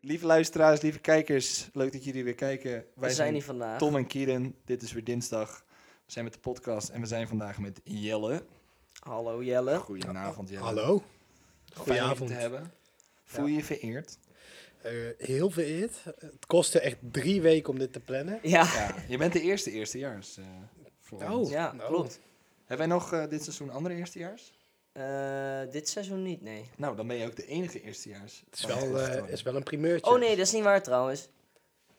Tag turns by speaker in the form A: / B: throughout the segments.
A: lieve luisteraars, lieve kijkers, leuk dat jullie weer kijken. Wij
B: We zijn hier vandaag.
A: Tom en Kieren. Dit is weer dinsdag. We zijn met de podcast en we zijn vandaag met Jelle.
B: Hallo Jelle.
A: Goedenavond, Jelle.
C: Hallo.
A: Fijn om je
C: Goedenavond.
A: te hebben. Voel je je vereerd?
C: Eh, heel vereerd. Het kostte echt drie weken om dit te plannen.
B: Ja.
A: Ja, je bent de eerste eerstejaars. eh voor ons.
B: Ja,
C: nou.
B: klopt.
A: Hebben wij nog eh, dit seizoen andere eerstejaars?
B: Eh, dit seizoen niet, nee.
A: Nou, dan ben je ook de enige eerstejaars.
C: Het is wel, eh, het is wel een primeurtje. Eh,
B: Oh nee, dat is niet waar trouwens.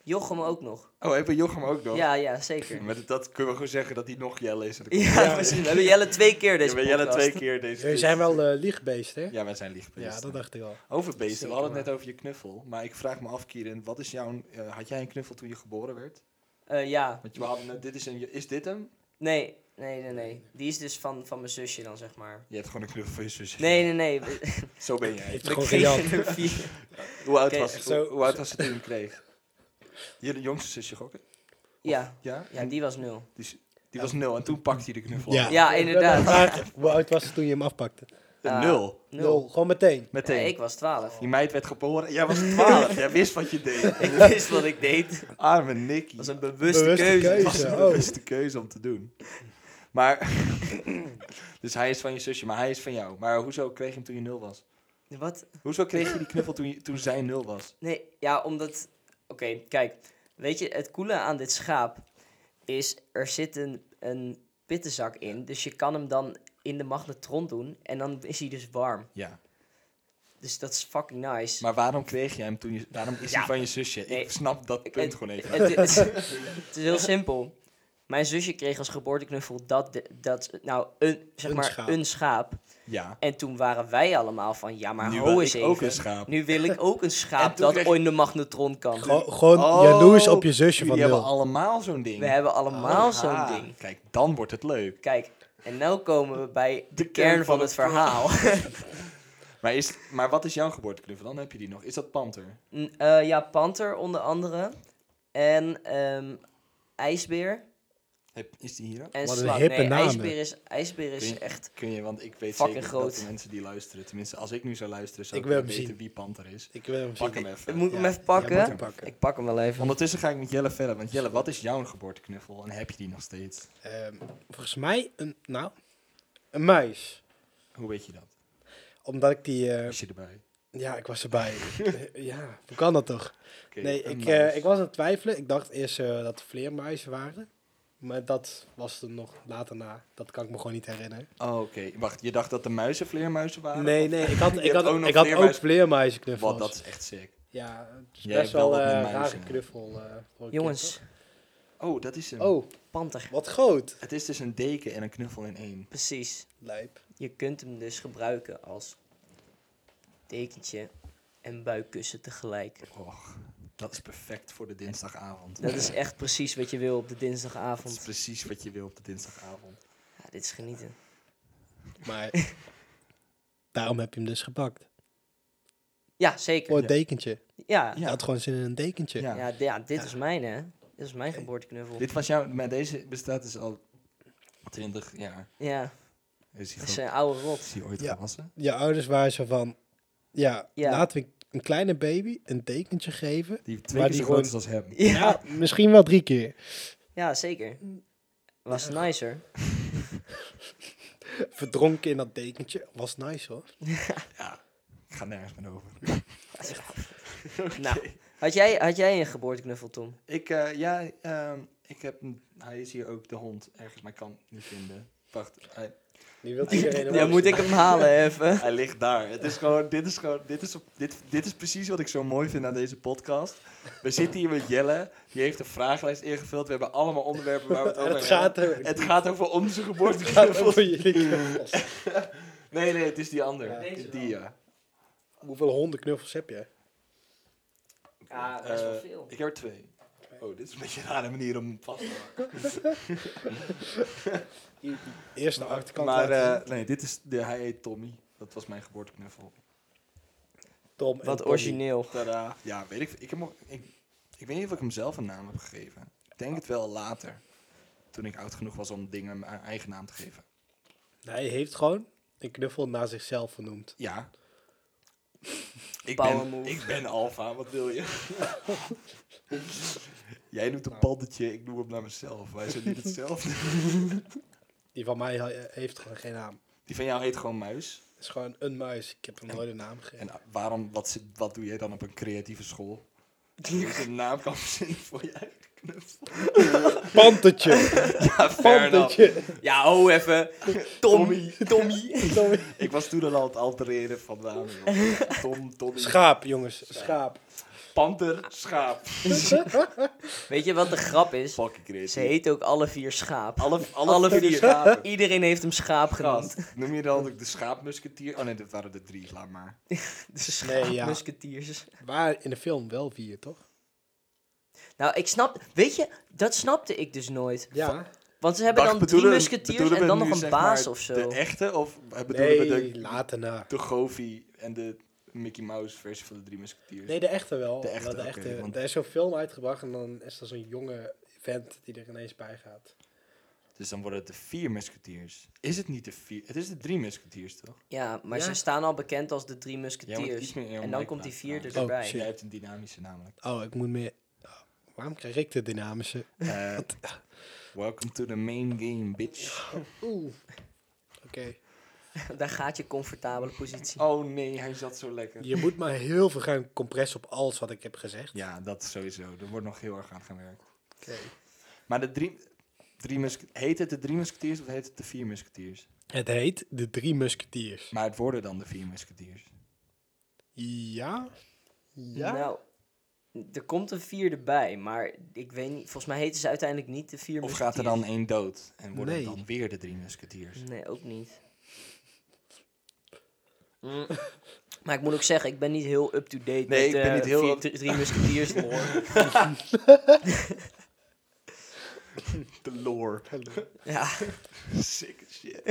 B: Jochem ook nog.
A: Oh, hebben we Jochem ook nog?
B: Ja, ja, zeker.
A: Met dat kunnen we gewoon zeggen dat hij nog Jelle is.
B: Ja, precies. We hebben Jelle twee keer
A: We
B: deze
A: hebben
B: podcast.
A: Jelle twee keer deze
C: Jullie zijn wel eh liegbeest, hè?
A: Ja, wij zijn liegbeesten.
C: Ja, dat dacht ik al.
A: Over beesten, we
C: Zeker
A: hadden het
C: waar.
A: net over je knuffel. Maar ik vraag me af, Kieren, wat is jouw... eh, had jij een knuffel toen je geboren werd?
B: Eh, ja,
A: Want we hadden net, dit is een... Is dit hem?
B: nee, nee, nee, nee. Die is dus van, van mijn zusje dan, zeg maar.
A: Je hebt gewoon een knuffel van je zus.
B: Nee, nee, nee. We-
A: Zo ben jij.
C: Heeft gewoon
B: we
C: gejat.
B: kregen er vier.
A: Hoe oud
B: Oké,
A: was het,
C: zo-
A: hoe, hoe oud was het toen je hem kreeg? Je jongste zusje gokken?
B: Ja,
A: Ja?
B: ja, die was nul.
A: Die, is- die was nul en toen pakte hij de knuffel.
B: Ja. inderdaad.
C: Maar hoe oud was het toen je hem afpakte?
A: Een
B: Ah.
A: nul.
B: Nul.
C: Nul. Gewoon meteen.
A: Meteen. Oh.
B: Nee, ik was twaalf.
A: Die meid werd geboren. Jij was 12. jij wist wat je deed.
B: Ik wist wat ik deed. Dat
A: Arme Nicky.
B: was een bewuste,
C: Bewuste
B: keuze.
C: keuze.
A: Dat was de
C: Oh.
A: beste keuze om te doen. Maar, dus hij is van je zusje, maar hij is van jou. Maar hoezo kreeg je hem toen je nul was?
B: Wat?
A: Hoezo kreeg je die knuffel toen, je, toen zij nul was?
B: Nee, ja, omdat... Oké, kijk. Weet je, het coole aan dit schaap is... Er zit een, een pittenzak in. Dus je kan hem dan in de magnetron doen. En dan is hij dus warm.
A: Ja.
B: Dus dat is fucking nice.
A: Maar waarom kreeg jij hem toen je... Waarom is hij
B: Ja.
A: van je zusje?
B: Nee.
A: Ik snap dat
B: Ik-
A: punt gewoon even.
B: Het, het, het is heel simpel. Mijn zusje kreeg als geboorteknuffel dat, de- dat nou, een, zeg
C: Een
B: maar,
C: schaap.
B: een schaap.
A: Ja.
B: En toen waren wij allemaal van, ja, maar
A: nu
B: ho
A: wil
B: eens
A: ik
B: even.
A: ook een schaap.
B: Nu wil ik ook een
A: En
B: schaap
A: toen
B: dat
A: kreeg-
B: ooit in de magnetron kan.
C: Gewoon, gewoon
A: Oh,
C: jaloers op je zusje van
A: Jullie hebben
C: nul.
A: allemaal zo'n ding.
B: We hebben allemaal
A: Ah,
B: zo'n ding.
A: Kijk, dan wordt het leuk.
B: Kijk, en nu komen we bij de,
A: kern
B: kern van,
A: van
B: het
A: het
B: verhaal.
A: Maar, is, maar wat is jouw geboorteknuffel? Dan heb je die nog. Is dat panter?
B: N- eh, ja, panter onder andere. En ehm, ijsbeer.
A: Heb- Is die hier ook?
B: En
C: Wat een
B: slang.
C: hippe
B: nee,
C: namen.
B: ijsbeer is, ijsbeer is
A: Kun-
B: echt...
A: Kun je, want ik weet
B: Fucking
A: zeker dat
B: groot.
A: de mensen die luisteren, tenminste als ik nu zou luisteren, zou
C: Ik
A: ik,
C: wil
A: niet
C: hem
A: weten
C: zien.
A: wie Panter is.
C: Ik wil hem
A: Pak
C: zien.
A: hem even.
B: Ik moet
C: Ja,
B: hem even
C: jij moet
B: pakken.
C: hem pakken.
B: Ik pak hem wel even.
A: Ondertussen ga ik met Jelle verder, want Jelle, wat is jouw geboorteknuffel en heb je die nog steeds?
C: Ehm, volgens mij een, nou, een muis.
A: Hoe weet je dat?
C: Omdat ik die, eh,
A: Is je erbij?
C: ja, ik was erbij. Eh, ja, hoe kan dat toch?
A: Oké,
C: nee,
A: een
C: ik,
A: muis.
C: eh, ik was aan het twijfelen. Ik dacht eerst eh, dat het vleermuizen waren. Maar dat was er nog later na. Dat kan ik me gewoon niet herinneren.
A: Oh, Oké, wacht, je dacht dat de muizen vleermuizen waren?
C: Nee, nee, ik had, ik
A: Ah, hebt
C: had,
A: ook nog
C: ik had ook
A: vleermuizen-
C: vleermuizenknuffels.
A: Wat, dat is echt sick.
C: Ja, het is
A: Jij
C: best
A: hebt wel
C: wel
A: wat
C: eh,
A: met
C: een
A: muizen,
C: rare
A: hè?
C: knuffel. eh, voor een
B: Jongens,
A: Oh, dat is hem.
C: kind, hoor. Oh,
B: panter.
C: wat groot.
A: Het is dus een deken en een knuffel in één.
B: Precies.
C: Lijp.
B: Je kunt hem dus gebruiken als dekentje en buikkussen tegelijk.
A: Och, dat is perfect voor de dinsdagavond.
B: Dat is echt precies wat je wil op de
A: Dat is
B: dinsdagavond.
A: precies wat je wil op de dinsdagavond.
B: Ja, dit is genieten.
C: Maar daarom heb je hem dus gepakt.
B: Ja,
C: Voor
B: zeker.
C: het dekentje.
B: Ja,
C: Je had gewoon zin in een dekentje.
A: Ja.
B: ja, d- ja, dit is mijn hè. Dit is mijn geboorteknuffel.
A: Dit was jouw, maar deze bestaat dus al 20 jaar.
B: Ja,
A: Is
B: dat
A: hij
B: is
A: gewoon-
B: een oude rot.
A: is hij ooit
C: Ja.
A: gewassen?
C: Je ouders waren zo van... Ja,
B: Ja.
C: laten we een kleine baby een dekentje geven.
A: Die twee
C: Maar
A: keer
C: die
A: zo groot
C: gewoon-
A: is als hem.
C: Ja,
B: Ja,
C: misschien wel drie keer.
B: ja zeker. Was nicer.
C: Verdronken in dat dekentje. Was nice hoor.
A: Ik ga nergens meer over.
B: Nou, had jij, had jij een geboorteknuffel, Tom?
A: Ik, eh, ja, ehm, ik heb een, hij is hier ook de hond ergens, maar ik kan het niet vinden. Wacht, hij,
C: Nu wil iedereen hem
B: Ja,
C: ook
B: moet
C: zien.
B: ik hem halen even.
A: hij ligt daar. Het is gewoon, dit is gewoon, dit is, op- dit, dit is precies wat ik zo mooi vind aan deze podcast. We zitten hier met Jelle, die heeft een vragenlijst ingevuld. We hebben allemaal onderwerpen waar we het
C: En
A: over
C: het gaat
A: hebben.
C: er-
A: Oh Het gaat over onze
C: Gaat
A: geboorteknuffels.
C: over jullie knuffels.
A: Nee, nee, het is die ander.
C: Ja,
B: deze
A: die, ja.
C: Hoeveel hondenknuffels heb je?
B: Ja,
A: Eh, Ik heb er twee. Oh, dit is een beetje een rare manier om vast te houden.
C: Eerst de achterkant
A: Maar
C: laten
A: eh,
C: zien.
A: nee, dit is de, hij heet Tommy. Dat was mijn geboorteknuffel.
C: Tom en
B: Wat
C: Tommy.
B: origineel.
A: Tada. Ja, weet ik. Ik, heb, nog- ik, ik weet niet of ik hem zelf een naam heb gegeven. Ik denk het wel later. Toen ik oud genoeg was om dingen mijn eigen naam te geven.
C: Hij heeft gewoon een knuffel naar zichzelf vernoemd.
A: Ja. Ik
B: Power
A: ben,
B: move.
A: ik ben alfa, wat wil je? Jij noemt
B: Nou.
A: een pannetje, ik noem hem naar mezelf. Wij zijn niet hetzelfde.
C: Die van mij he- heeft gewoon geen naam.
A: Die van jou heet gewoon muis.
C: Het is gewoon een muis. Ik heb hem nooit een naam gegeven.
A: En uh, waarom, wat, zit- wat doe jij dan op een creatieve school? Je moet een naam kan verzinnen voor je eigen knuffel.
C: Pantertje.
A: Ja, fair enough.
C: Pantertje.
B: Ja, ho even. Tommy. Tommy.
C: Sorry.
A: Ik was toen al aan het altereren van namen. joh. Tom, Tommy,
C: Schaap, jongens. Schaap.
A: panter, schaap.
B: Weet je wat de grap is?
A: Fucking
B: Ze
A: creatief.
B: heten ook alle vier schaap.
A: Alle, alle,
B: alle
A: vier,
B: vier.
A: schapen.
B: Iedereen heeft hem schaap genoemd.
A: Gast, noem je dan ook de schaapmusketier? Oh nee, dat waren de drie, laat maar.
B: De schaap
C: ja.
B: musketiers.
C: Waar in de film wel vier, toch?
B: Nou, ik snap... Weet je, dat snapte ik dus nooit.
C: Ja.
B: Want ze hebben
A: Wacht,
B: dan
A: bedoelen-
B: drie musketiers
A: bedoelen
B: en
A: we
B: dan
A: nu,
B: nog een
A: zeg
B: baas
A: maar,
B: of zo.
A: De echte, of bedoelen we
C: Nee,
A: de,
C: later na.
A: de Goofy en de Mickey Mouse versie van de drie musketiers?
C: Nee, de echte wel.
A: De echte,
C: Want
A: oké, want-
C: Er is zo'n film uitgebracht en dan is er zo'n jonge vent die er ineens bij gaat.
A: Dus dan worden het de vier musketiers. Is het niet de vier? Het is de drie musketiers, toch?
B: Ja, maar
C: Ja.
B: ze staan al bekend als de drie
A: Jij moet iets
B: musketiers.
A: meer in jouw
B: en dan
A: mic
B: komt die
A: praten,
B: vierde
A: namelijk.
C: Oh,
B: erbij.
C: shit.
A: Jij hebt een dynamische namelijk.
C: Oh, ik moet meer... Oh, waarom krijg ik de dynamische?
A: Eh, welcome to the main game, bitch.
C: Oeh. Oké.
B: Daar gaat je comfortabele positie.
A: Oh nee, hij zat zo lekker.
C: Je moet maar heel veel gaan compressen op alles wat ik heb gezegd.
A: Ja, dat sowieso. Er wordt nog heel erg aan gewerkt.
C: Oké.
A: Maar de drie... drie muske- heet het de drie musketiers of heet het de vier musketiers?
C: Het heet De Drie Musketiers.
A: Maar het worden dan de vier musketiers.
C: Ja? Oh, Ja?
B: Nou, er komt een vierde bij, maar ik weet niet. Volgens mij heten ze uiteindelijk niet de vier
A: Of gaat er dan één dood en worden het
C: Nee.
A: dan weer de drie musketiers?
B: musketiers. Nee, ook niet. Mm. Maar ik moet ook zeggen, ik ben niet heel up-to-date
A: Nee,
B: met
A: ik ben
B: eh,
A: niet heel
B: vier-
A: up-
B: drie musketiers lore.
A: De lore.
B: ja,
A: Sick shit.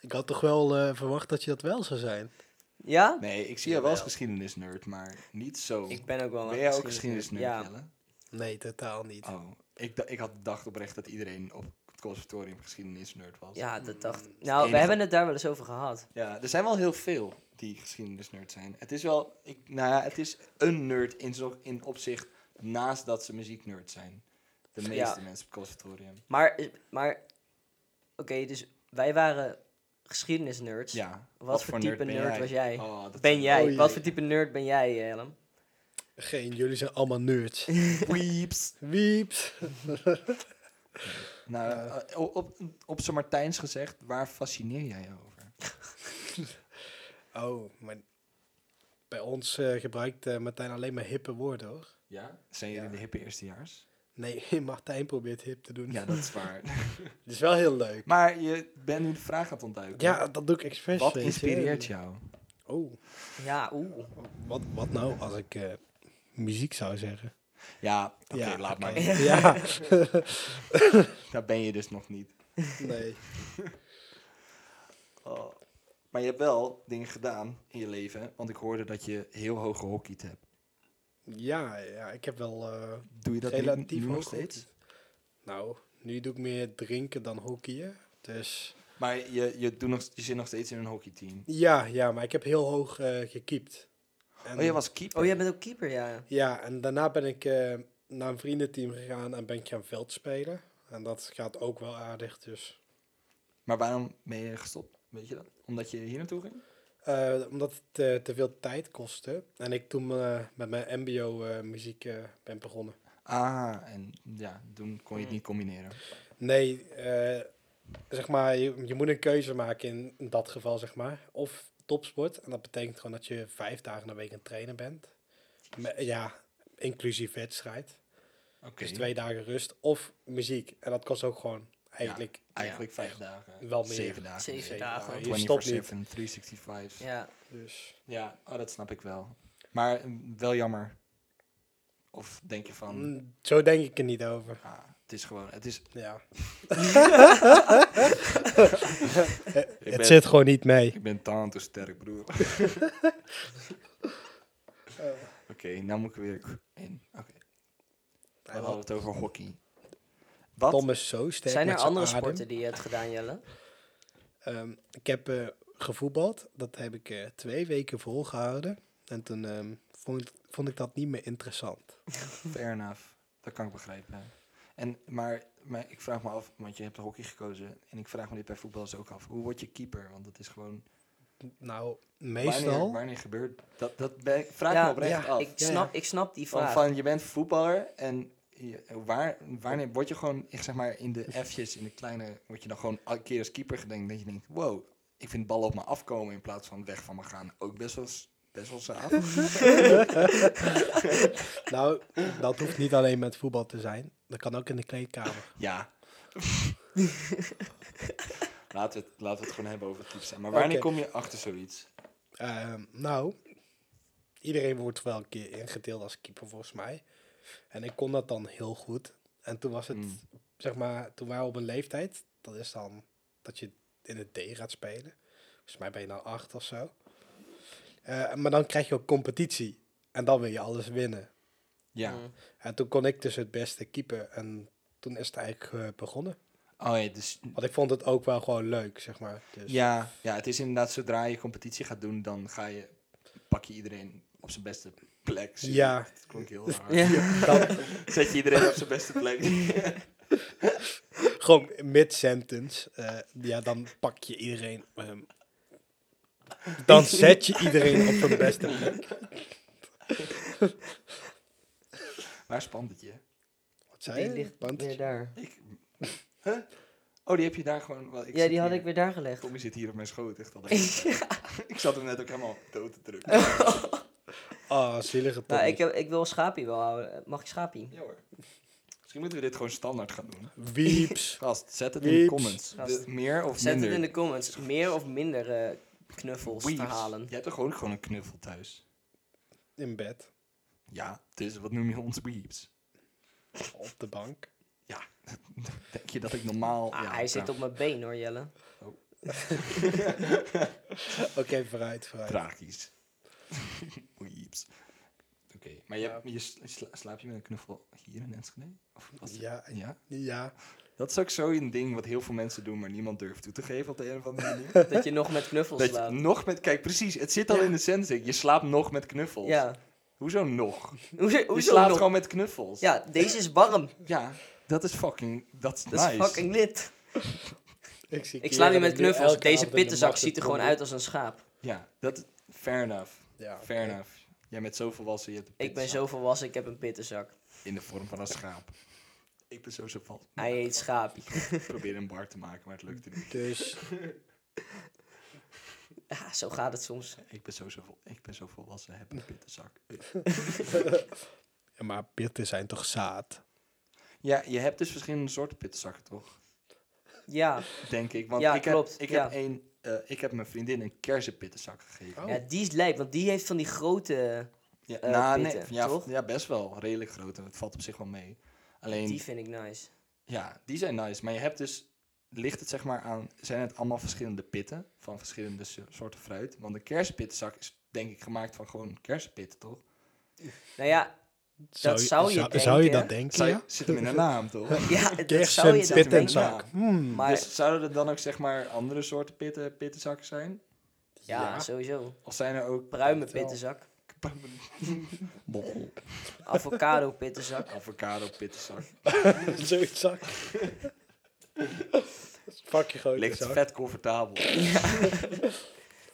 C: Ik had toch wel eh, verwacht dat je dat wel zou zijn.
B: ja?
A: Nee, ik zie jou wel als geschiedenisnerd, maar niet zo.
B: Ik ben ook wel
A: ben
B: een
A: jij ook
B: geschiedenisnerd,
A: geschiedenisnerd,
B: Ja,
A: Jelle?
C: Nee, totaal niet.
A: Oh, ik, da- ik had bedacht oprecht dat iedereen op het conservatorium geschiedenisnerd was.
B: ja, dat dacht ik.
A: enige-
B: Nou, we hebben het daar wel eens over gehad.
A: Ja, er zijn wel heel veel die geschiedenisnerd zijn. Het is wel, ik, nou ja, het is een nerd in, zo, in opzicht naast dat ze muzieknerd zijn. De meeste
B: Ja.
A: mensen op het conservatorium.
B: Maar, eh, maar oké, dus wij waren geschiedenisnerds.
A: Ja.
B: Wat, voor type nerd,
A: ben
B: was jij?
A: Oh, dat
B: Ben
A: zijn-
B: jij? Wat
C: Oh, jee.
B: voor type nerd ben jij, eh, Helm?
C: Geen, jullie zijn allemaal nerds.
A: Weeps.
C: Wieps.
A: Nou, eh, op, op, op zijn Martijns gezegd, waar fascineer jij je over?
C: Oh, maar bij ons eh, gebruikt eh, Martijn alleen maar hippe woorden, hoor.
A: Ja? Zijn jullie
C: Ja.
A: de hippe eerstejaars?
C: Nee, Martijn probeert hip te doen.
A: Ja, dat is waar.
C: Het is wel heel leuk.
A: maar je bent nu de vraag aan het ontduiken.
C: Ja, dat doe ik expres.
A: Wat
C: weet je.
A: inspireert jou?
C: Oh,
B: Ja, oeh.
C: wat, wat nou als ik eh, muziek zou zeggen?
A: Ja, oké,
C: ja,
A: laat
C: oké.
A: maar.
C: Ja,
A: Daar ben je dus nog niet.
C: nee.
A: Oh. Maar je hebt wel dingen gedaan in je leven, want ik hoorde dat je heel hoog gehockeyd hebt.
C: Ja, ja, ik heb wel... eh,
A: Doe je dat nu-
C: relatief
A: nu nog
C: hoog
A: steeds?
C: Nou, nu doe ik meer drinken dan hockeyen. Dus
A: Maar je, je, doet nog, je zit nog steeds in een hockeyteam.
C: ja, ja, maar ik heb heel hoog eh gekiept. En,
A: Oh, jij was keeper?
B: Oh, jij bent ook keeper, ja.
C: Ja, en daarna ben ik eh, naar een vriendenteam gegaan en ben ik gaan veld spelen. En dat gaat ook wel aardig, dus.
A: Maar waarom ben je gestopt? Weet je dat? Omdat je hier naartoe ging?
C: Eh, omdat het eh, te veel tijd kostte. En ik toen eh, met mijn mbo-muziek eh, ben begonnen.
A: Ah, en ja, toen kon je
C: Hmm.
A: het niet combineren.
C: Nee, eh, zeg maar, je, je moet een keuze maken in, in dat geval, zeg maar. Of topsport, en dat betekent gewoon dat je vijf dagen in de week aan het trainen bent. Me- ja, inclusief wedstrijd.
A: Oké.
C: Dus twee dagen rust. Of muziek. En dat kost ook gewoon eigenlijk...
A: Eigenlijk vijf dagen.
C: Wel meer.
A: Zeven dagen.
B: Zeven
A: Zeven
B: dagen.
A: dagen.
C: Je stopt niet.
A: 24/7, 365. Ja,
B: Ja,
C: Dus,
A: oh, dat snap ik wel. Maar mm, wel jammer. Of denk je van,
C: mm, zo denk ik er niet over.
A: ah, het is gewoon, het is...
C: Ja.
A: Ik
C: Het zit gewoon niet mee.
A: Ik ben taan te sterk, broer.
C: Oh.
A: Oké, nou moet ik er weer in. Oké, we hadden het over hockey. Wat?
C: Tom is zo sterk
B: zijn er
C: met zijn
B: andere
C: adem.
B: sporten die je hebt gedaan, Jelle?
C: Ehm, ik heb eh gevoetbald. Dat heb ik eh, twee weken volgehouden. En toen ehm, vond, ik- vond ik dat niet meer interessant.
A: Fair enough. Dat kan ik begrijpen. En, maar, maar ik vraag me af, want je hebt hockey gekozen. En ik vraag me dit bij voetballers ook af. Hoe word je keeper? Want dat is gewoon...
C: Nou,
A: Wanneer,
C: meestal...
A: wanneer gebeurt dat? Dat ben- vraag
B: Ja,
A: me oprecht
C: ja,
A: af.
B: Ik
C: ja,
B: snap,
C: ja.
B: ik snap die
A: van,
B: vraag.
A: van, je bent voetballer en je- waar, wanneer word je gewoon, ik zeg maar, in de F'jes, in de kleine, word je dan gewoon een keer als keeper gedenkt dat je denkt, wow, ik vind ballen op me afkomen in plaats van weg van me gaan. Ook best wel, s- best wel saaf.
C: Nou, dat hoeft niet alleen met voetbal te zijn. Dat kan ook in de kleedkamer.
A: ja. laten, we het, laten we het gewoon hebben over het keeper zijn. Maar wanneer
C: Oké.
A: kom je achter zoiets?
C: Ehm, nou, iedereen wordt wel een keer ingedeeld als keeper volgens mij. En ik kon dat dan heel goed. En toen was het,
A: Mm.
C: zeg maar, toen waren we op een leeftijd. Dat is dan dat je in het D gaat spelen. Volgens mij ben je nou acht of zo. Eh, maar dan krijg je ook competitie. En dan wil je alles winnen.
A: Ja.
B: Mm.
C: En toen kon ik dus het beste keeper. En toen is het eigenlijk eh, begonnen.
A: Oh ja, dus
C: Want ik vond het ook wel gewoon leuk, zeg maar. Dus,
A: ja, ja, het is inderdaad, zodra je competitie gaat doen, dan ga je, pak je iedereen op zijn beste plek.
C: Ja.
A: Dat klonk heel hard.
B: Ja.
C: Dan,
A: Zet je iedereen op zijn beste plek.
C: gewoon mid-sentence. eh, ja, dan pak je iedereen. ehm, dan zet je iedereen op hun beste plek.
A: Waar spant het je?
C: Wat zei
B: die
C: je?
B: ligt
C: Want,
B: weer daar.
A: Ik, huh? Oh, die heb je daar gewoon... wel- ik
B: Ja,
A: zit
B: die had
A: hier-
B: ik weer daar gelegd.
A: Tommy zit hier op mijn schoot, echt al. de hele tijd. Ik zat hem net ook helemaal dood te drukken.
C: oh, zielige
B: Nou,
C: Tommy.
B: ik, heb, ik wil Schapie wel houden. Mag ik Schapie?
A: ja hoor. Misschien moeten we dit gewoon standaard gaan doen.
C: Wieps.
A: Gast, zet het in de
C: Wieps.
A: comments.
B: Gast.
A: De- meer of
B: Zet
A: minder?
B: het in de comments. Meer of minder eh, knuffels
A: Wieps.
B: verhalen.
A: Jij hebt toch ook gewoon een knuffel thuis?
C: In bed.
A: Ja, dus wat noem je ons weeps?
C: Op de bank.
A: Denk je dat ik normaal...
B: Ah,
A: ja,
B: hij zit
A: nou,
B: op mijn been hoor, Jelle.
C: Oké, vooruit, vooruit.
A: Tragisch. weeps. Oké, maar je, hebt- je sla- sla- slaap je met een knuffel hier in Enschede? Of was het-
C: Ja,
A: Ja?
C: ja.
A: Dat is ook zo'n ding wat heel veel mensen doen, maar niemand durft toe te geven op de een of andere manier.
B: Dat je nog met knuffels
A: Dat je
B: slaat.
A: nog met, kijk, precies, het zit al
B: Ja.
A: in de sensing. Je slaapt nog met knuffels.
B: Ja.
A: Hoezo nog?
B: Hoezo,
A: je
B: hoezo
A: slaapt
B: nog?
A: gewoon met knuffels.
B: Ja, deze is warm.
A: Ja, dat is fucking, dat is
B: Dat
A: nice.
B: is fucking lit.
C: Ik, zie
B: Ik sla nu
C: Keren
B: met
C: nu
B: knuffels.
C: elke
B: Deze
C: avond in de
B: pittenzak
C: nacht
B: ziet er
C: het
B: gewoon
C: Tommy.
B: uit als een schaap.
A: Ja, dat, fair enough,
C: Ja, oké.
A: fair enough. Jij bent zo volwassen, je hebt een
B: Ik ben
A: pitzak
B: zo volwassen, ik heb een pittenzak.
A: In de vorm van een schaap. Ik ben zo zo vast.
B: Hij heet Schapie.
A: Ik probeer een bar te maken, maar het lukte niet.
C: Dus
B: Ja, Ah, zo gaat het soms.
A: Ik ben zo, zo, vol, ik ben zo volwassen, heb een pittenzak.
C: Ja, maar pitten zijn toch zaad?
A: Ja, je hebt dus verschillende soorten pittenzakken, toch?
B: Ja,
C: Oh.
A: Denk ik. Want
B: Ja,
A: ik
B: klopt,
A: heb, ik,
B: ja.
A: heb een, eh, ik heb mijn vriendin een kersenpittenzak gegeven.
C: Oh.
B: ja die is lijp, want die heeft van die grote...
A: Ja,
B: eh,
A: nou, nee,
B: pitten,
A: ja,
B: toch?
A: ja, best wel. Redelijk groot. en Het valt op zich wel mee. Alleen,
B: Die vind ik nice.
A: ja, die zijn nice. Maar je hebt dus, ligt het zeg maar aan, zijn het allemaal verschillende pitten van verschillende so- soorten fruit? Want een kersenpittenzak is denk ik gemaakt van gewoon kersenpitten, toch?
B: Nou ja, zou je
C: zou,
B: denken.
C: zou je dat denken?
A: Zou je-
C: ja?
A: Zit hem in de naam, toch?
B: ja dat zou je
C: Kersen,
B: dan
A: pitten en
B: denken.
A: zak.
C: pittenzak. Hmm.
B: Maar
A: Dus zouden er dan ook zeg maar andere soorten pitten, pittenzakken zijn?
B: ja,
C: Ja.
B: sowieso.
A: Of zijn er ook...
B: Pruimen
C: Wel.
B: pittenzak.
A: Bobbel.
B: Avocado pittenzak.
A: Avocado pittenzak.
C: Zo'n zak. Pak je gewoon
A: Ligt
C: zak.
A: vet comfortabel.
B: Dat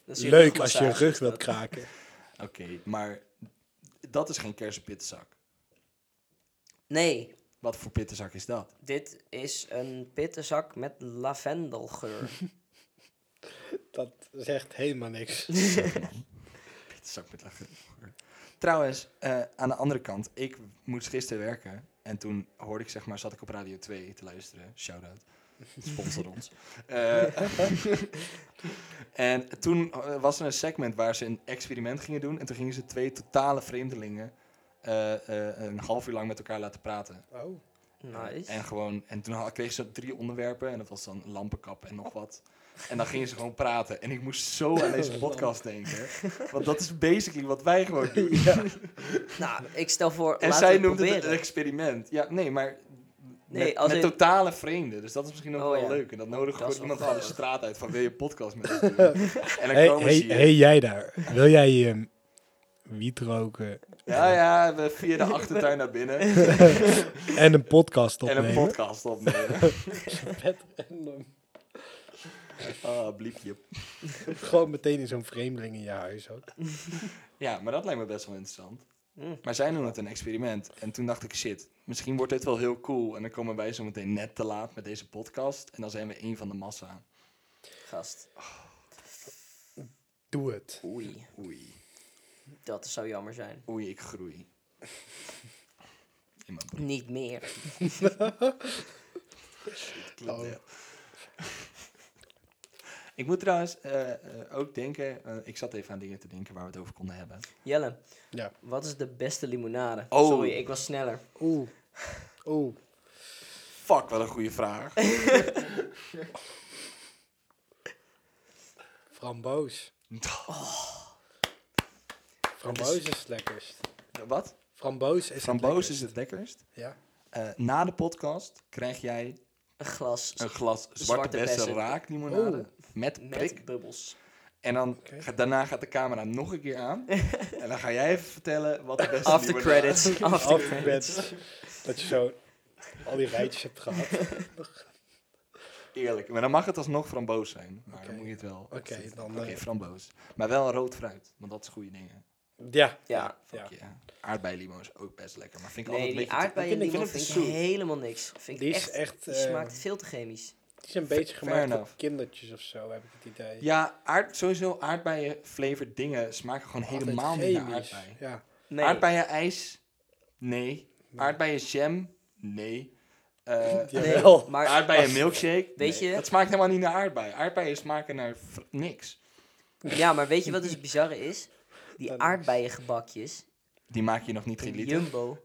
B: is je
C: Leuk als je
B: rugmassage,
C: rug
B: is
C: wilt
B: dat.
C: kraken.
A: Oké, maar dat is geen kersenpittenzak.
B: Nee,
A: Wat voor pittenzak is dat?
B: dit is een pittenzak met lavendelgeur.
C: Dat zegt helemaal niks.
A: Pittenzak met lachen. Trouwens, eh, aan de andere kant, ik moest gisteren werken. En toen hoorde ik, zeg maar, zat ik op Radio 2 te luisteren. Shout-out. Sponsor ons. Eh, en toen eh, was er een segment waar ze een experiment gingen doen. En toen gingen ze twee totale vreemdelingen eh, eh, een half uur lang met elkaar laten praten.
C: Oh.
B: Nice.
A: En, gewoon, en toen had- kregen ze drie onderwerpen. En dat was dan lampenkap en nog wat. En dan gingen ze gewoon praten. En ik moest zo aan
B: Oh,
A: deze podcast denken. Want dat is basically wat wij gewoon doen.
B: Nou, ik stel voor,
A: En
B: laten
A: zij
B: we het
A: noemde het
B: proberen.
A: een experiment. Ja, nee, maar...
B: Nee,
A: met,
B: als
A: met
B: in-
A: totale vreemden. Dus dat is misschien nog
B: Oh,
A: wel
B: ja.
A: leuk. En dat nodig
B: dat
A: gewoon
B: is wel
A: iemand gewoon de
B: grappig.
A: straat uit van wil je een podcast met ons doen? en dan
C: hey,
A: komen
C: hey,
A: ze hier.
C: hey, jij daar. Wil jij ehm, wiet roken
A: Ja, ja, we via de achtertuin naar binnen.
C: en een podcast
A: en
C: opnemen?
A: een podcast opnemen.
C: En,
A: Ah, bliepje.
C: ehm, gewoon meteen in zo'n vreemdeling in je huis ook.
A: Ja, maar dat lijkt me best wel interessant.
B: Hm.
A: Maar zij noemen het een experiment. En toen dacht ik, shit, misschien wordt dit wel heel cool. En dan komen wij zo meteen net te laat met deze podcast. En dan zijn we één van de massa.
B: Gast.
C: Doe het.
B: Oei,
A: Oei.
B: dat zou jammer zijn.
A: Oei, ik groei. In mijn broek.
B: Niet meer.
A: Klopt,
C: Oh.
A: ja. Ik moet trouwens eh, eh, ook denken... eh, ik zat even aan dingen te denken waar we het over konden hebben.
B: Jelle,
C: Ja.
B: wat is de beste limonade?
A: Oh.
B: Sorry, ik was sneller.
C: Oeh. Oeh.
A: Fuck, wat een goede vraag.
C: Framboos.
A: Oh.
C: Framboos is het lekkerst.
A: Wat?
C: Framboos is
A: Framboos
C: het
A: is het lekkerst.
C: lekkerst. Ja.
A: Eh, na de podcast krijg jij
B: Een glas
A: een glas zwarte, bessen,
B: bessen.
A: raaklimonade met
B: met
A: prik.
B: bubbels.
A: En dan
C: Oké.
A: gaat- daarna gaat de camera nog een keer aan. en dan ga jij even vertellen wat de beste
B: After
A: limonade-
B: credits. After
C: After
B: credits.
C: credits. Dat je zo al die rijtjes hebt gehad. Oké,
A: Eerlijk. Maar dan mag het alsnog framboos zijn. Maar
C: Oké.
A: dan moet je het wel... Oké,
C: dan... eh,
A: framboos. Maar wel rood fruit. Want dat is goede dingen.
C: ja.
B: Ja.
C: ja.
A: Ja. Aardbeilimo is ook best lekker. Maar vind ik altijd
B: Nee, die
A: een beetje te-
B: aardbeien vind
C: Ik vind
B: ik,
C: het te zoet.
B: helemaal niks. Vind
C: Die
B: ik
C: is
B: echt,
C: echt,
B: die
C: eh,
B: smaakt veel te chemisch.
C: Het is een beetje gemaakt
A: enough.
C: voor kindertjes of zo, heb ik het idee.
A: Ja, aard, sowieso aardbeien flavored dingen smaken gewoon
C: Altijd
A: helemaal niet naar
C: chemisch.
A: aardbei.
C: Ja.
B: Nee,
A: Aardbeien ijs? Nee. Aardbeien jam? Nee. Eh
B: nee,
C: Jawel.
B: maar
A: aardbeien milkshake?
B: Weet
A: Nee.
B: je-
A: Dat smaakt helemaal niet naar aardbei. Aardbeien smaken naar fr- niks.
B: Ja, maar weet je wat dus het bizarre is? Die
C: Dan-
B: aardbeiengebakjes
A: Die maak je nog niet geen
B: in
A: liter.
B: Jumbo.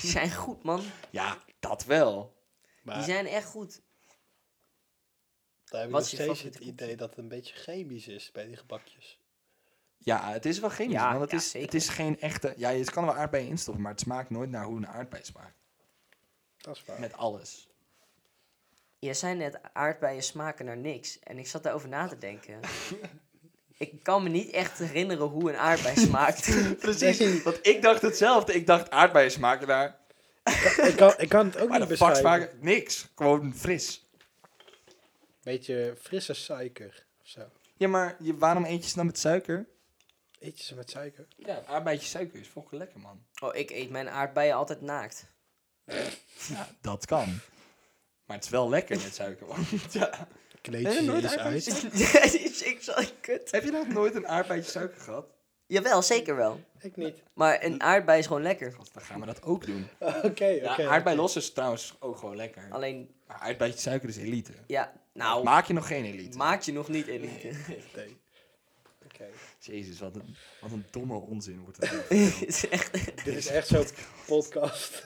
B: Die zijn goed, man.
A: Ja, dat wel.
B: Die
C: Maar
B: zijn echt goed.
C: daar heb ik
B: wat
C: nog
B: is je
C: steeds het
B: favoriete
C: idee dat het een beetje chemisch is bij die gebakjes.
A: Ja, het is wel chemisch.
B: Ja,
A: want het,
B: ja,
A: is,
B: zeker.
A: het is geen echte... Ja, je kan er wel aardbeien instoppen, maar het smaakt nooit naar hoe een aardbei smaakt.
C: Dat is waar.
A: Met alles.
B: Jij zei net, aardbeien smaken naar niks. En ik zat daarover na te denken. ik kan me niet echt herinneren hoe een aardbei smaakt.
A: Precies, want ik dacht hetzelfde. Ik dacht aardbeien smaken daar.
C: ik, kan, ik kan het ook
A: Maar
C: niet
A: de fuck
C: beschrijven.
A: smaken niks. Gewoon fris.
C: Beetje frisse suiker of zo.
A: Ja, maar je, waarom eet je ze dan met suiker?
C: Eet je ze met suiker?
A: Ja, aardbeidje suiker is fucking lekker, man.
B: Oh, ik eet mijn aardbeien altijd naakt.
A: Ja, dat kan. Maar het is wel lekker met suiker, man. Ja.
C: Kleedje
A: nooit
C: is
A: aardbeien
C: dus uit.
B: ik zal kut.
A: Heb je nog nooit een aardbeidje suiker gehad?
B: Jawel, zeker wel.
C: Ik niet.
B: Maar een aardbei is gewoon lekker.
A: God, dan gaan we dat ook doen.
C: Oké, oké.
A: ja, aardbei los is trouwens ook gewoon lekker.
B: Alleen,
A: Maar aardbeidje suiker is elite.
B: ja, nou,
A: Maak je nog geen elite.
B: maak je nog niet elite.
C: Nee. Oké.
A: Jezus, wat een, wat een domme onzin wordt het.
B: Het is echt...
C: Dit is echt zo'n podcast.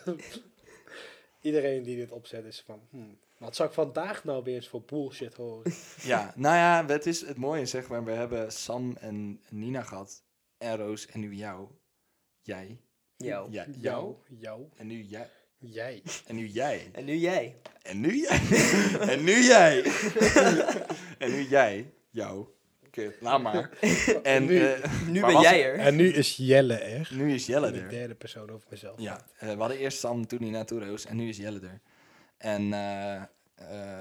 C: Iedereen die dit opzet is van... hmm, wat zou ik vandaag nou weer eens voor bullshit horen?
A: Ja, nou ja, het is het mooie zeg maar. We hebben Sam en Nina gehad. En Roos en nu jou. Jij.
B: Jou.
A: Ja, jou.
C: Jou, jou,
A: En nu jij.
C: jij.
A: En nu jij.
B: En nu jij.
A: En nu jij. en nu jij. en nu jij. Jou. Kut, laat maar. En
C: Nu-
A: eh,
B: Nu
A: waar
B: ben
A: was
B: jij
A: ik?
B: er.
C: En nu is Jelle er.
A: Nu is Jelle
C: de
A: er.
C: derde persoon over mezelf.
A: Ja, eh, we hadden eerst Sam, toen Nina, toen Roos en nu is Jelle er. En eh, eh,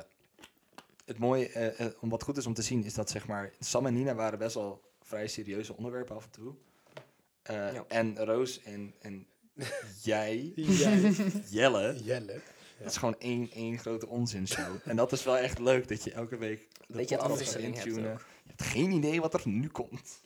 A: het mooie, eh, eh, om wat goed is om te zien, is dat zeg maar... Sam en Nina waren best wel vrij serieuze onderwerpen af en toe. Eh,
B: Ja.
A: En Roos en, en jij,
C: Jij,
A: Jelle,
C: Jelle.
A: Dat is gewoon één, één grote onzinshow. en dat is wel echt leuk dat je elke week de
B: Beetje
A: podcast
B: afwisseling
A: gaat
B: hebt
A: intunen.
B: ook.
A: Je hebt geen idee wat er nu komt.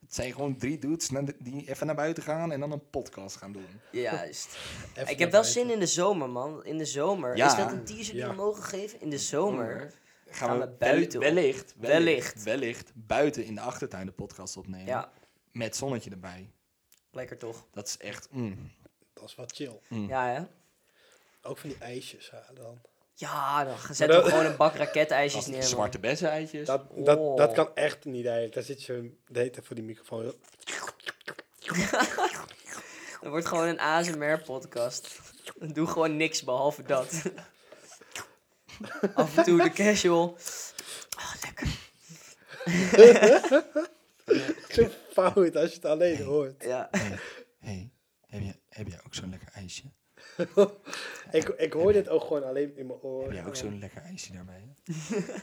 A: Het zijn gewoon drie dudes na- die even naar buiten gaan en dan een podcast gaan doen.
B: Juist.
C: Even
B: Ik
C: naar
B: heb wel
C: buiten.
B: zin in de zomer, man. In de zomer.
A: Ja.
B: Is dat een teaser die
C: Ja.
B: we mogen geven? In de zomer.
A: Gaan we
B: we buiten op.
A: wellicht, wellicht, wellicht,
B: Wellicht.
A: buiten in de achtertuin de podcast opnemen.
B: Ja,
A: Met zonnetje erbij.
B: lekker toch?
A: Dat is echt... mm.
C: Dat is wat chill.
B: Ja, hè?
C: Ook van die ijsjes halen dan.
B: Ja, dan
C: Maar
B: zetten
C: dat-
B: we gewoon een bak raketijsjes
A: Dat-
B: neer. man.
A: zwarte bessen eitjes.
C: Dat, dat,
B: Oh.
C: dat kan echt niet eigenlijk. Daar zit je de hele tijd voor die microfoon.
B: Dat wordt gewoon een ASMR-podcast. Doe gewoon niks behalve dat. Af en toe de casual. Ah, lekker.
C: Zo fout als je het alleen hoort.
B: Ja.
A: Hey, hey, heb, je, heb jij ook zo'n lekker ijsje?
C: Ik, ik hoor dit ook gewoon alleen in mijn
A: Heb
C: oren.
A: jij ook zo'n lekker ijsje daarbij?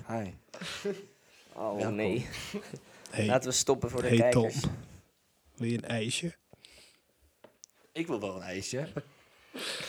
A: Hi.
B: Oh
A: Welkom.
B: nee.
C: Hey,
B: Laten we stoppen voor de kijkers.
C: wil je een ijsje?
A: Ik wil wel een ijsje.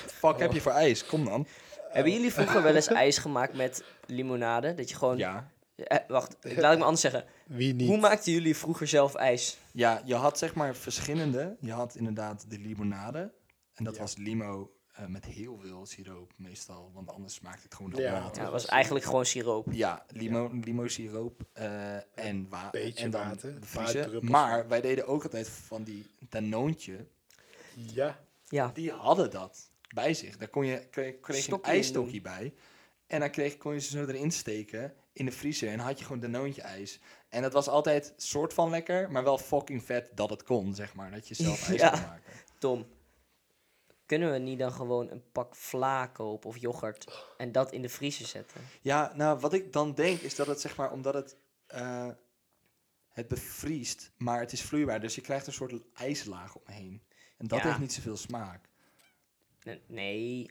A: Fuck, heb je voor ijs? Kom dan.
B: Hebben jullie vroeger wel eens ijs gemaakt met limonade? Dat je gewoon...
A: Ja.
B: Eh, wacht, ik- laat ik me anders zeggen.
C: Wie
B: Hoe
C: niet?
B: maakten jullie vroeger zelf ijs?
A: Ja, je had zeg maar verschillende. Je had inderdaad de limonade. En dat
C: Ja.
A: was limo eh, met heel veel siroop meestal. Want anders smaakt het gewoon
C: Ja.
A: naar
B: Ja,
A: water.
B: het was eigenlijk gewoon siroop.
A: Ja, limo, limo siroop eh, en water.
C: beetje
A: en dan
C: water, een paar
A: Vriezen.
C: druppels.
A: Maar wij deden ook altijd van die danoontje.
C: Ja.
B: Ja.
A: Die hadden dat bij zich. Daar kon je, kreeg, kreeg je een
B: Stokje in
A: ijsstokje bij. En dan kreeg, kon je ze zo erin steken in de vriezer. En had je gewoon danoontje ijs. En dat was altijd soort van lekker, maar wel fucking vet dat het kon, zeg maar. Dat je zelf ijs
B: Ja.
A: kon maken.
B: Tom, kunnen we niet dan gewoon een pak vla kopen of yoghurt en dat in de vriezer zetten?
A: Ja, nou, wat ik dan denk is dat het zeg maar, omdat het, eh, het bevriest, maar het is vloeibaar. Dus je krijgt een soort ijslaag omheen. En dat
B: Ja.
A: heeft niet zoveel smaak.
B: N- Nee,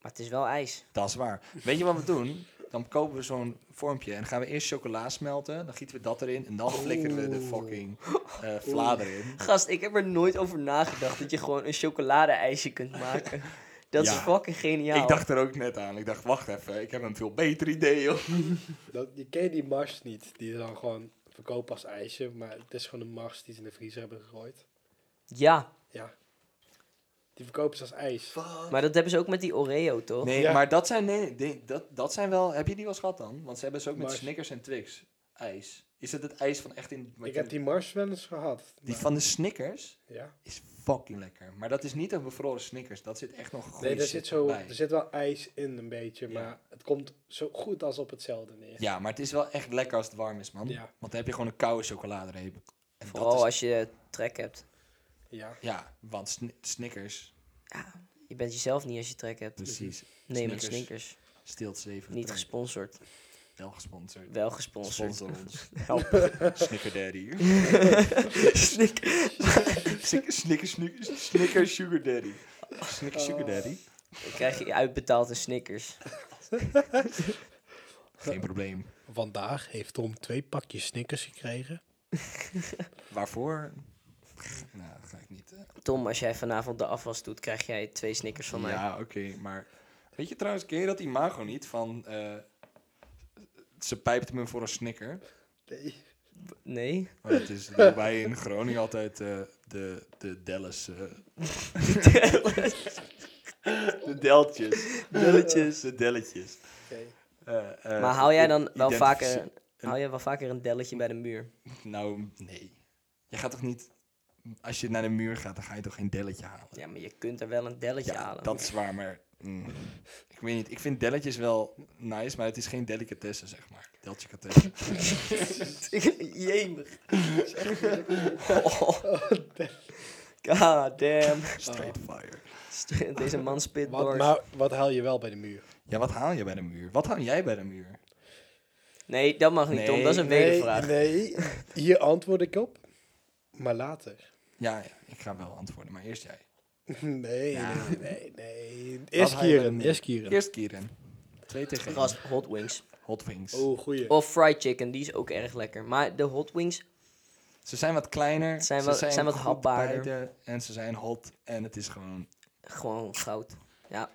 B: maar het is wel ijs.
A: Dat is waar. Weet je wat we doen? Dan kopen we zo'n vormpje en dan gaan we eerst chocola smelten. Dan gieten we dat erin en dan flikkeren we de fucking eh vla erin.
B: Gast, ik heb er nooit over nagedacht dat je gewoon een chocoladeijsje kunt maken. Dat is
A: Ja.
B: fucking geniaal.
A: Ik dacht er ook net aan. Ik dacht, wacht even, ik heb een veel beter idee, joh.
C: Dat, je kent die mars niet, die ze dan gewoon verkopen als ijsje. Maar het is gewoon een mars die ze in de vriezer hebben gegooid.
B: Ja,
C: Ja. Die verkopen ze als ijs.
B: maar dat hebben ze ook met die Oreo, toch?
A: Nee,
C: Ja.
A: maar dat zijn, nee, nee, die- dat, dat zijn wel... Heb je die wel eens gehad dan? Want ze hebben ze ook met
C: Maar-
A: Snickers en Twix ijs. Is het het ijs van echt in... wat
C: ik
A: je-
C: heb die mars wel eens gehad.
A: Die
C: maar-
A: van de Snickers
C: Ja.
A: is fucking lekker. Maar dat is niet een bevroren Snickers. Dat zit echt nog goede
C: Nee, er
A: shit
C: zit, zo,
A: bij.
C: er zit wel ijs in een beetje.
A: Ja.
C: Maar het komt zo goed als op hetzelfde neer.
A: Ja, maar het is wel echt lekker als het warm is, man.
C: Ja.
A: Want dan heb je gewoon een koude chocoladereep. En
B: Vooral
A: dat is,
B: als je trek hebt.
C: Ja.
A: Ja, want sni- Snickers...
B: Je bent jezelf niet als je trek hebt.
A: Precies.
B: Nee, met
A: Dus Snickers.
B: snickers.
A: Stilt 7.
B: Niet gesponsord.
A: Wel gesponsord.
B: Wel gesponsord.
A: Sponsor ons.
B: Help.
A: Snicker Daddy.
B: Snick-
A: Snicker, Snicker, Snicker, Snicker Sugar Daddy. Snicker Sugar Daddy.
B: Dan krijg je uitbetaald in snickers.
A: Geen probleem.
C: Vandaag heeft Tom twee pakjes Snickers gekregen.
A: Waarvoor? Nou, dat ga ik niet. eh.
B: Tom, als jij vanavond de afwas doet, krijg jij twee snickers van mij.
A: Ja, oké, maar... Weet je trouwens, ken je dat imago niet van... eh, ze pijpt me voor een snicker.
C: Nee.
B: Nee?
A: Maar het is doen wij in Groningen altijd eh, de, de Dallas... eh, de deltjes. Delletjes. De delletjes. Eh, eh,
B: maar hou jij dan wel
A: identifice-
B: vaker, hou jij wel vaker een delletje bij de muur?
A: Nou, nee. Je gaat toch niet... Als je naar de muur gaat, dan ga je toch geen delletje halen?
B: Ja, maar je kunt er wel een delletje
A: Ja,
B: halen.
A: dat is waar, maar... mm, ik weet niet, ik vind delletjes wel nice, maar het is geen delicatessen, zeg maar. Deltje
B: Jemig. Oh. God damn.
A: Straight fire.
B: Deze man spit
C: Wat,
B: bars.
C: maar wat haal je wel bij de muur?
A: Ja, wat haal je bij de muur? Wat haal jij bij de muur?
B: Nee, dat mag niet, Tom. Dat is een
A: Nee,
B: wedervraag.
C: nee. Hier antwoord ik op. Maar later.
A: Ja, ja, ik ga wel antwoorden, maar eerst jij.
C: Nee,
A: Ja.
C: nee, nee, nee. Eerst
A: haal je bij de
C: Kieren,
A: muur?
C: eerst Kieren.
A: Eerst Kieren. 2 tegen één.
B: Gast, hot wings.
A: Hot Wings.
C: Oh, goeie.
B: Of fried chicken, die is ook erg lekker. Maar de hot wings,
A: Ze zijn wat kleiner.
B: Zijn
A: ze
B: wat- zijn wat
A: goed
B: hapbaarder.
A: beide En ze zijn hot. En het is gewoon...
B: gewoon goud. Ja,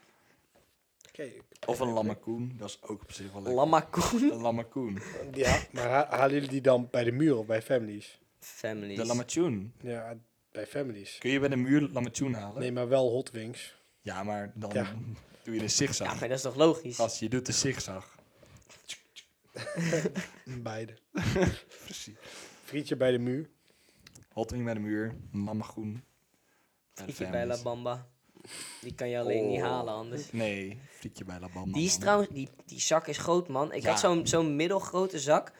C: Oké.
A: Of een lammerkoen. Dat is ook op zich wel lekker.
B: lammakoen.
A: een lammerkoen.
C: Ja, maar ha- halen jullie die dan bij de muur of bij families?
B: Families.
A: De lammertjoen.
C: Ja, bij families.
A: Kun je bij de muur lammertjoen halen?
C: Nee, maar wel hot wings.
A: Ja, maar dan
C: Ja.
A: doe je de
B: ja,
A: zigzag.
B: maar dat is toch logisch?
A: Als je doet de zigzag.
C: Beide.
A: Precies.
C: Frietje bij de muur.
A: Hot wing bij de muur. Lammergroen. Bij de
B: Frietje bij La
A: families.
B: Bamba. Die kan je alleen niet
A: Oh.
B: halen anders.
A: Nee, frietje bij La Bamba.
B: Die is
A: man.
B: trouwens, die, die zak is groot man. Ik
A: Ja.
B: had zo'n zo'n middelgrote zak.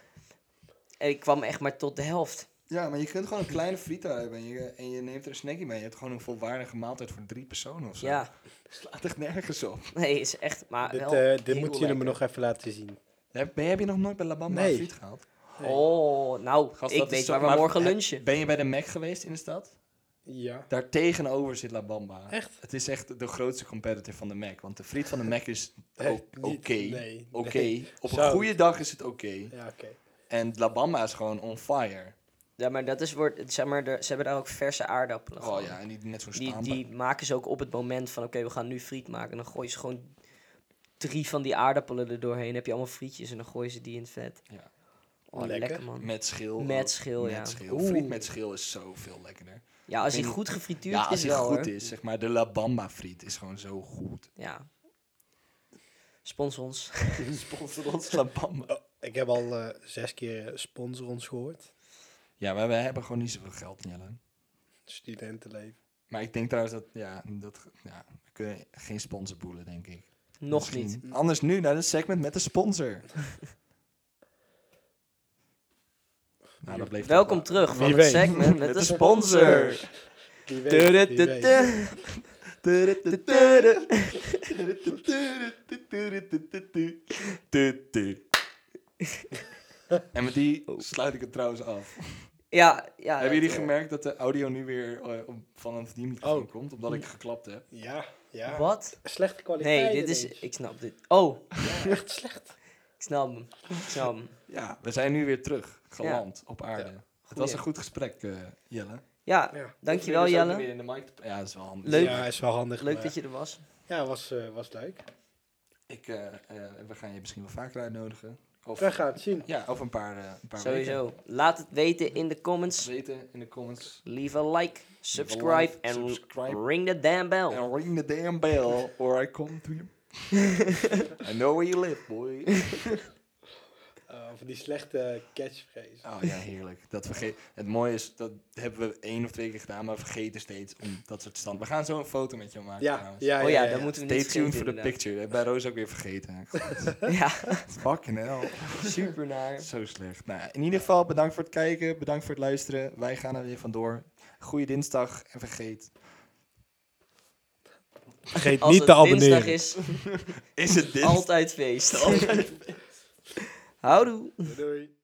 B: En ik kwam echt maar tot de helft.
A: Ja, maar je kunt gewoon een kleine frita hebben en je, en je neemt er een snackie mee. Je hebt gewoon een volwaardige maaltijd voor drie personen of zo.
B: Ja,
A: Slaat echt nergens op.
B: nee, is echt, maar
C: Dit,
B: Ah, wel
C: eh,
B: heel
C: dit moeten jullie me
B: lekker.
C: nog even laten zien.
A: Heb, ben- heb je nog nooit bij La Bamba
C: Nee.
A: een friet gehaald?
B: Oh, nou,
A: Gast,
B: ik
A: dat is
B: weet
A: zo-
B: waar we
A: maar-
B: morgen
A: eh,
B: lunchen.
A: Ben je bij de Mac geweest in de stad?
C: Ja.
A: Daar tegenover zit La Bamba.
C: Echt?
A: Het is echt de grootste competitor van de Mac. Want de friet van de Mac is o-
C: Eh,
A: oké.
C: niet- nee,
A: Oké.
C: nee.
A: Op een
C: Zout.
A: goede dag is het oké.
C: Ja, oké.
A: En La Bamba is gewoon on fire.
B: Ja, maar dat is, wordt, zeg maar, er- ze hebben daar ook verse aardappelen.
A: Oh
B: gewoon.
A: ja, en die net zo'n
B: Die,
A: staan.
B: die maken ze ook op het moment van, oké, we gaan nu friet maken. En dan gooien ze gewoon drie van die aardappelen er doorheen. Heb je allemaal frietjes en dan gooien ze die in het vet.
A: Ja.
B: Oh, lekker,
C: Lekker.
B: man.
A: Met schil.
B: Met
A: ook.
B: schil, ja.
A: Met schil.
C: Oeh.
A: Friet met schil is zoveel lekkerder.
B: Ja, als
A: Ik
B: die
A: weet
B: goed gefrituurd
A: ja, als
B: is
A: hij
B: wel,
A: goed
B: hoor.
A: is, zeg maar. De La Bamba friet is gewoon zo goed.
B: Ja. Sponsor ons.
A: Sponsor ons La Bamba.
C: Oh, ik heb al eh, zes keer eh, sponsor ons gehoord.
A: Ja, maar wij hebben gewoon niet zoveel geld, Jelle.
C: Studentenleven.
A: Maar ik denk trouwens dat, ja, dat, ja we kunnen geen sponsor boelen, denk ik.
B: Nog
A: Misschien.
B: niet.
A: Anders nu naar het segment met de sponsor. nou, dat bleef
B: Welkom
A: toch
B: terug van het
C: Wie weet.
B: segment met
A: Met
B: de
A: de
B: sponsor.
C: Wie weet, wie weet.
B: Tudutudu. Tudutudu.
A: wel. En met die sluit ik het trouwens af.
B: Ja, ja.
A: Hebben jullie
B: dat, eh,
A: gemerkt dat de audio nu weer eh, op- van een verdienmicrofoon
C: Oh.
A: komt? Omdat ik geklapt heb.
C: Ja, ja.
B: Wat?
C: Slechte kwaliteit.
B: Nee, dit is...
C: ineens.
B: Ik snap dit. Oh,
C: Ja, echt slecht.
B: ik snap hem. Ik snap hem.
A: Ja, we zijn nu weer terug. Geland op aarde.
C: Ja.
A: Het was een goed gesprek, eh, Jelle.
B: Ja,
C: Ja.
B: dankjewel
A: Dus ook
B: Jelle.
A: weer in de mic te- Ja, dat is wel handig.
B: Leuk.
C: Ja, is wel handig.
B: Leuk
C: maar-
B: dat je er was.
C: Ja, was, eh, was leuk.
A: Ik, eh, eh, we gaan je misschien wel vaker uitnodigen. Of,
C: We gaan het zien.
A: ja, of een paar, eh, een paar weken.
B: Sowieso. Laat het weten in de comments.
A: weten in de comments.
B: Leave a like, subscribe en
A: subscribe.
B: ring the damn bell. Oh
A: And ring the damn bell or I come to you. I know where you live, boy.
C: Eh, van die slechte catchphrase.
A: Oh ja, heerlijk. Dat vergeet... Het mooie is, dat hebben we één of twee keer gedaan, maar we vergeten steeds om dat soort stand. We gaan zo een foto met jou maken
C: ja,
A: trouwens.
C: ja,
B: Oh ja, dan moeten we
A: Stay
B: niet
A: tuned for
B: vergeten
A: the
B: inderdaad.
A: picture. Dat heb Bij Roos ook weer vergeten.
B: Ja,
A: Fucking hell.
B: super naar.
A: Zo slecht. Nou, in ieder geval bedankt voor het kijken, bedankt voor het luisteren. Wij gaan er weer vandoor. Goeie dinsdag en vergeet.
C: Vergeet
B: Als
C: niet
B: het
C: te
B: dinsdag
C: abonneren.
B: is,
A: Is het dinsdag?
B: altijd feest. Houdoe.
C: Doei.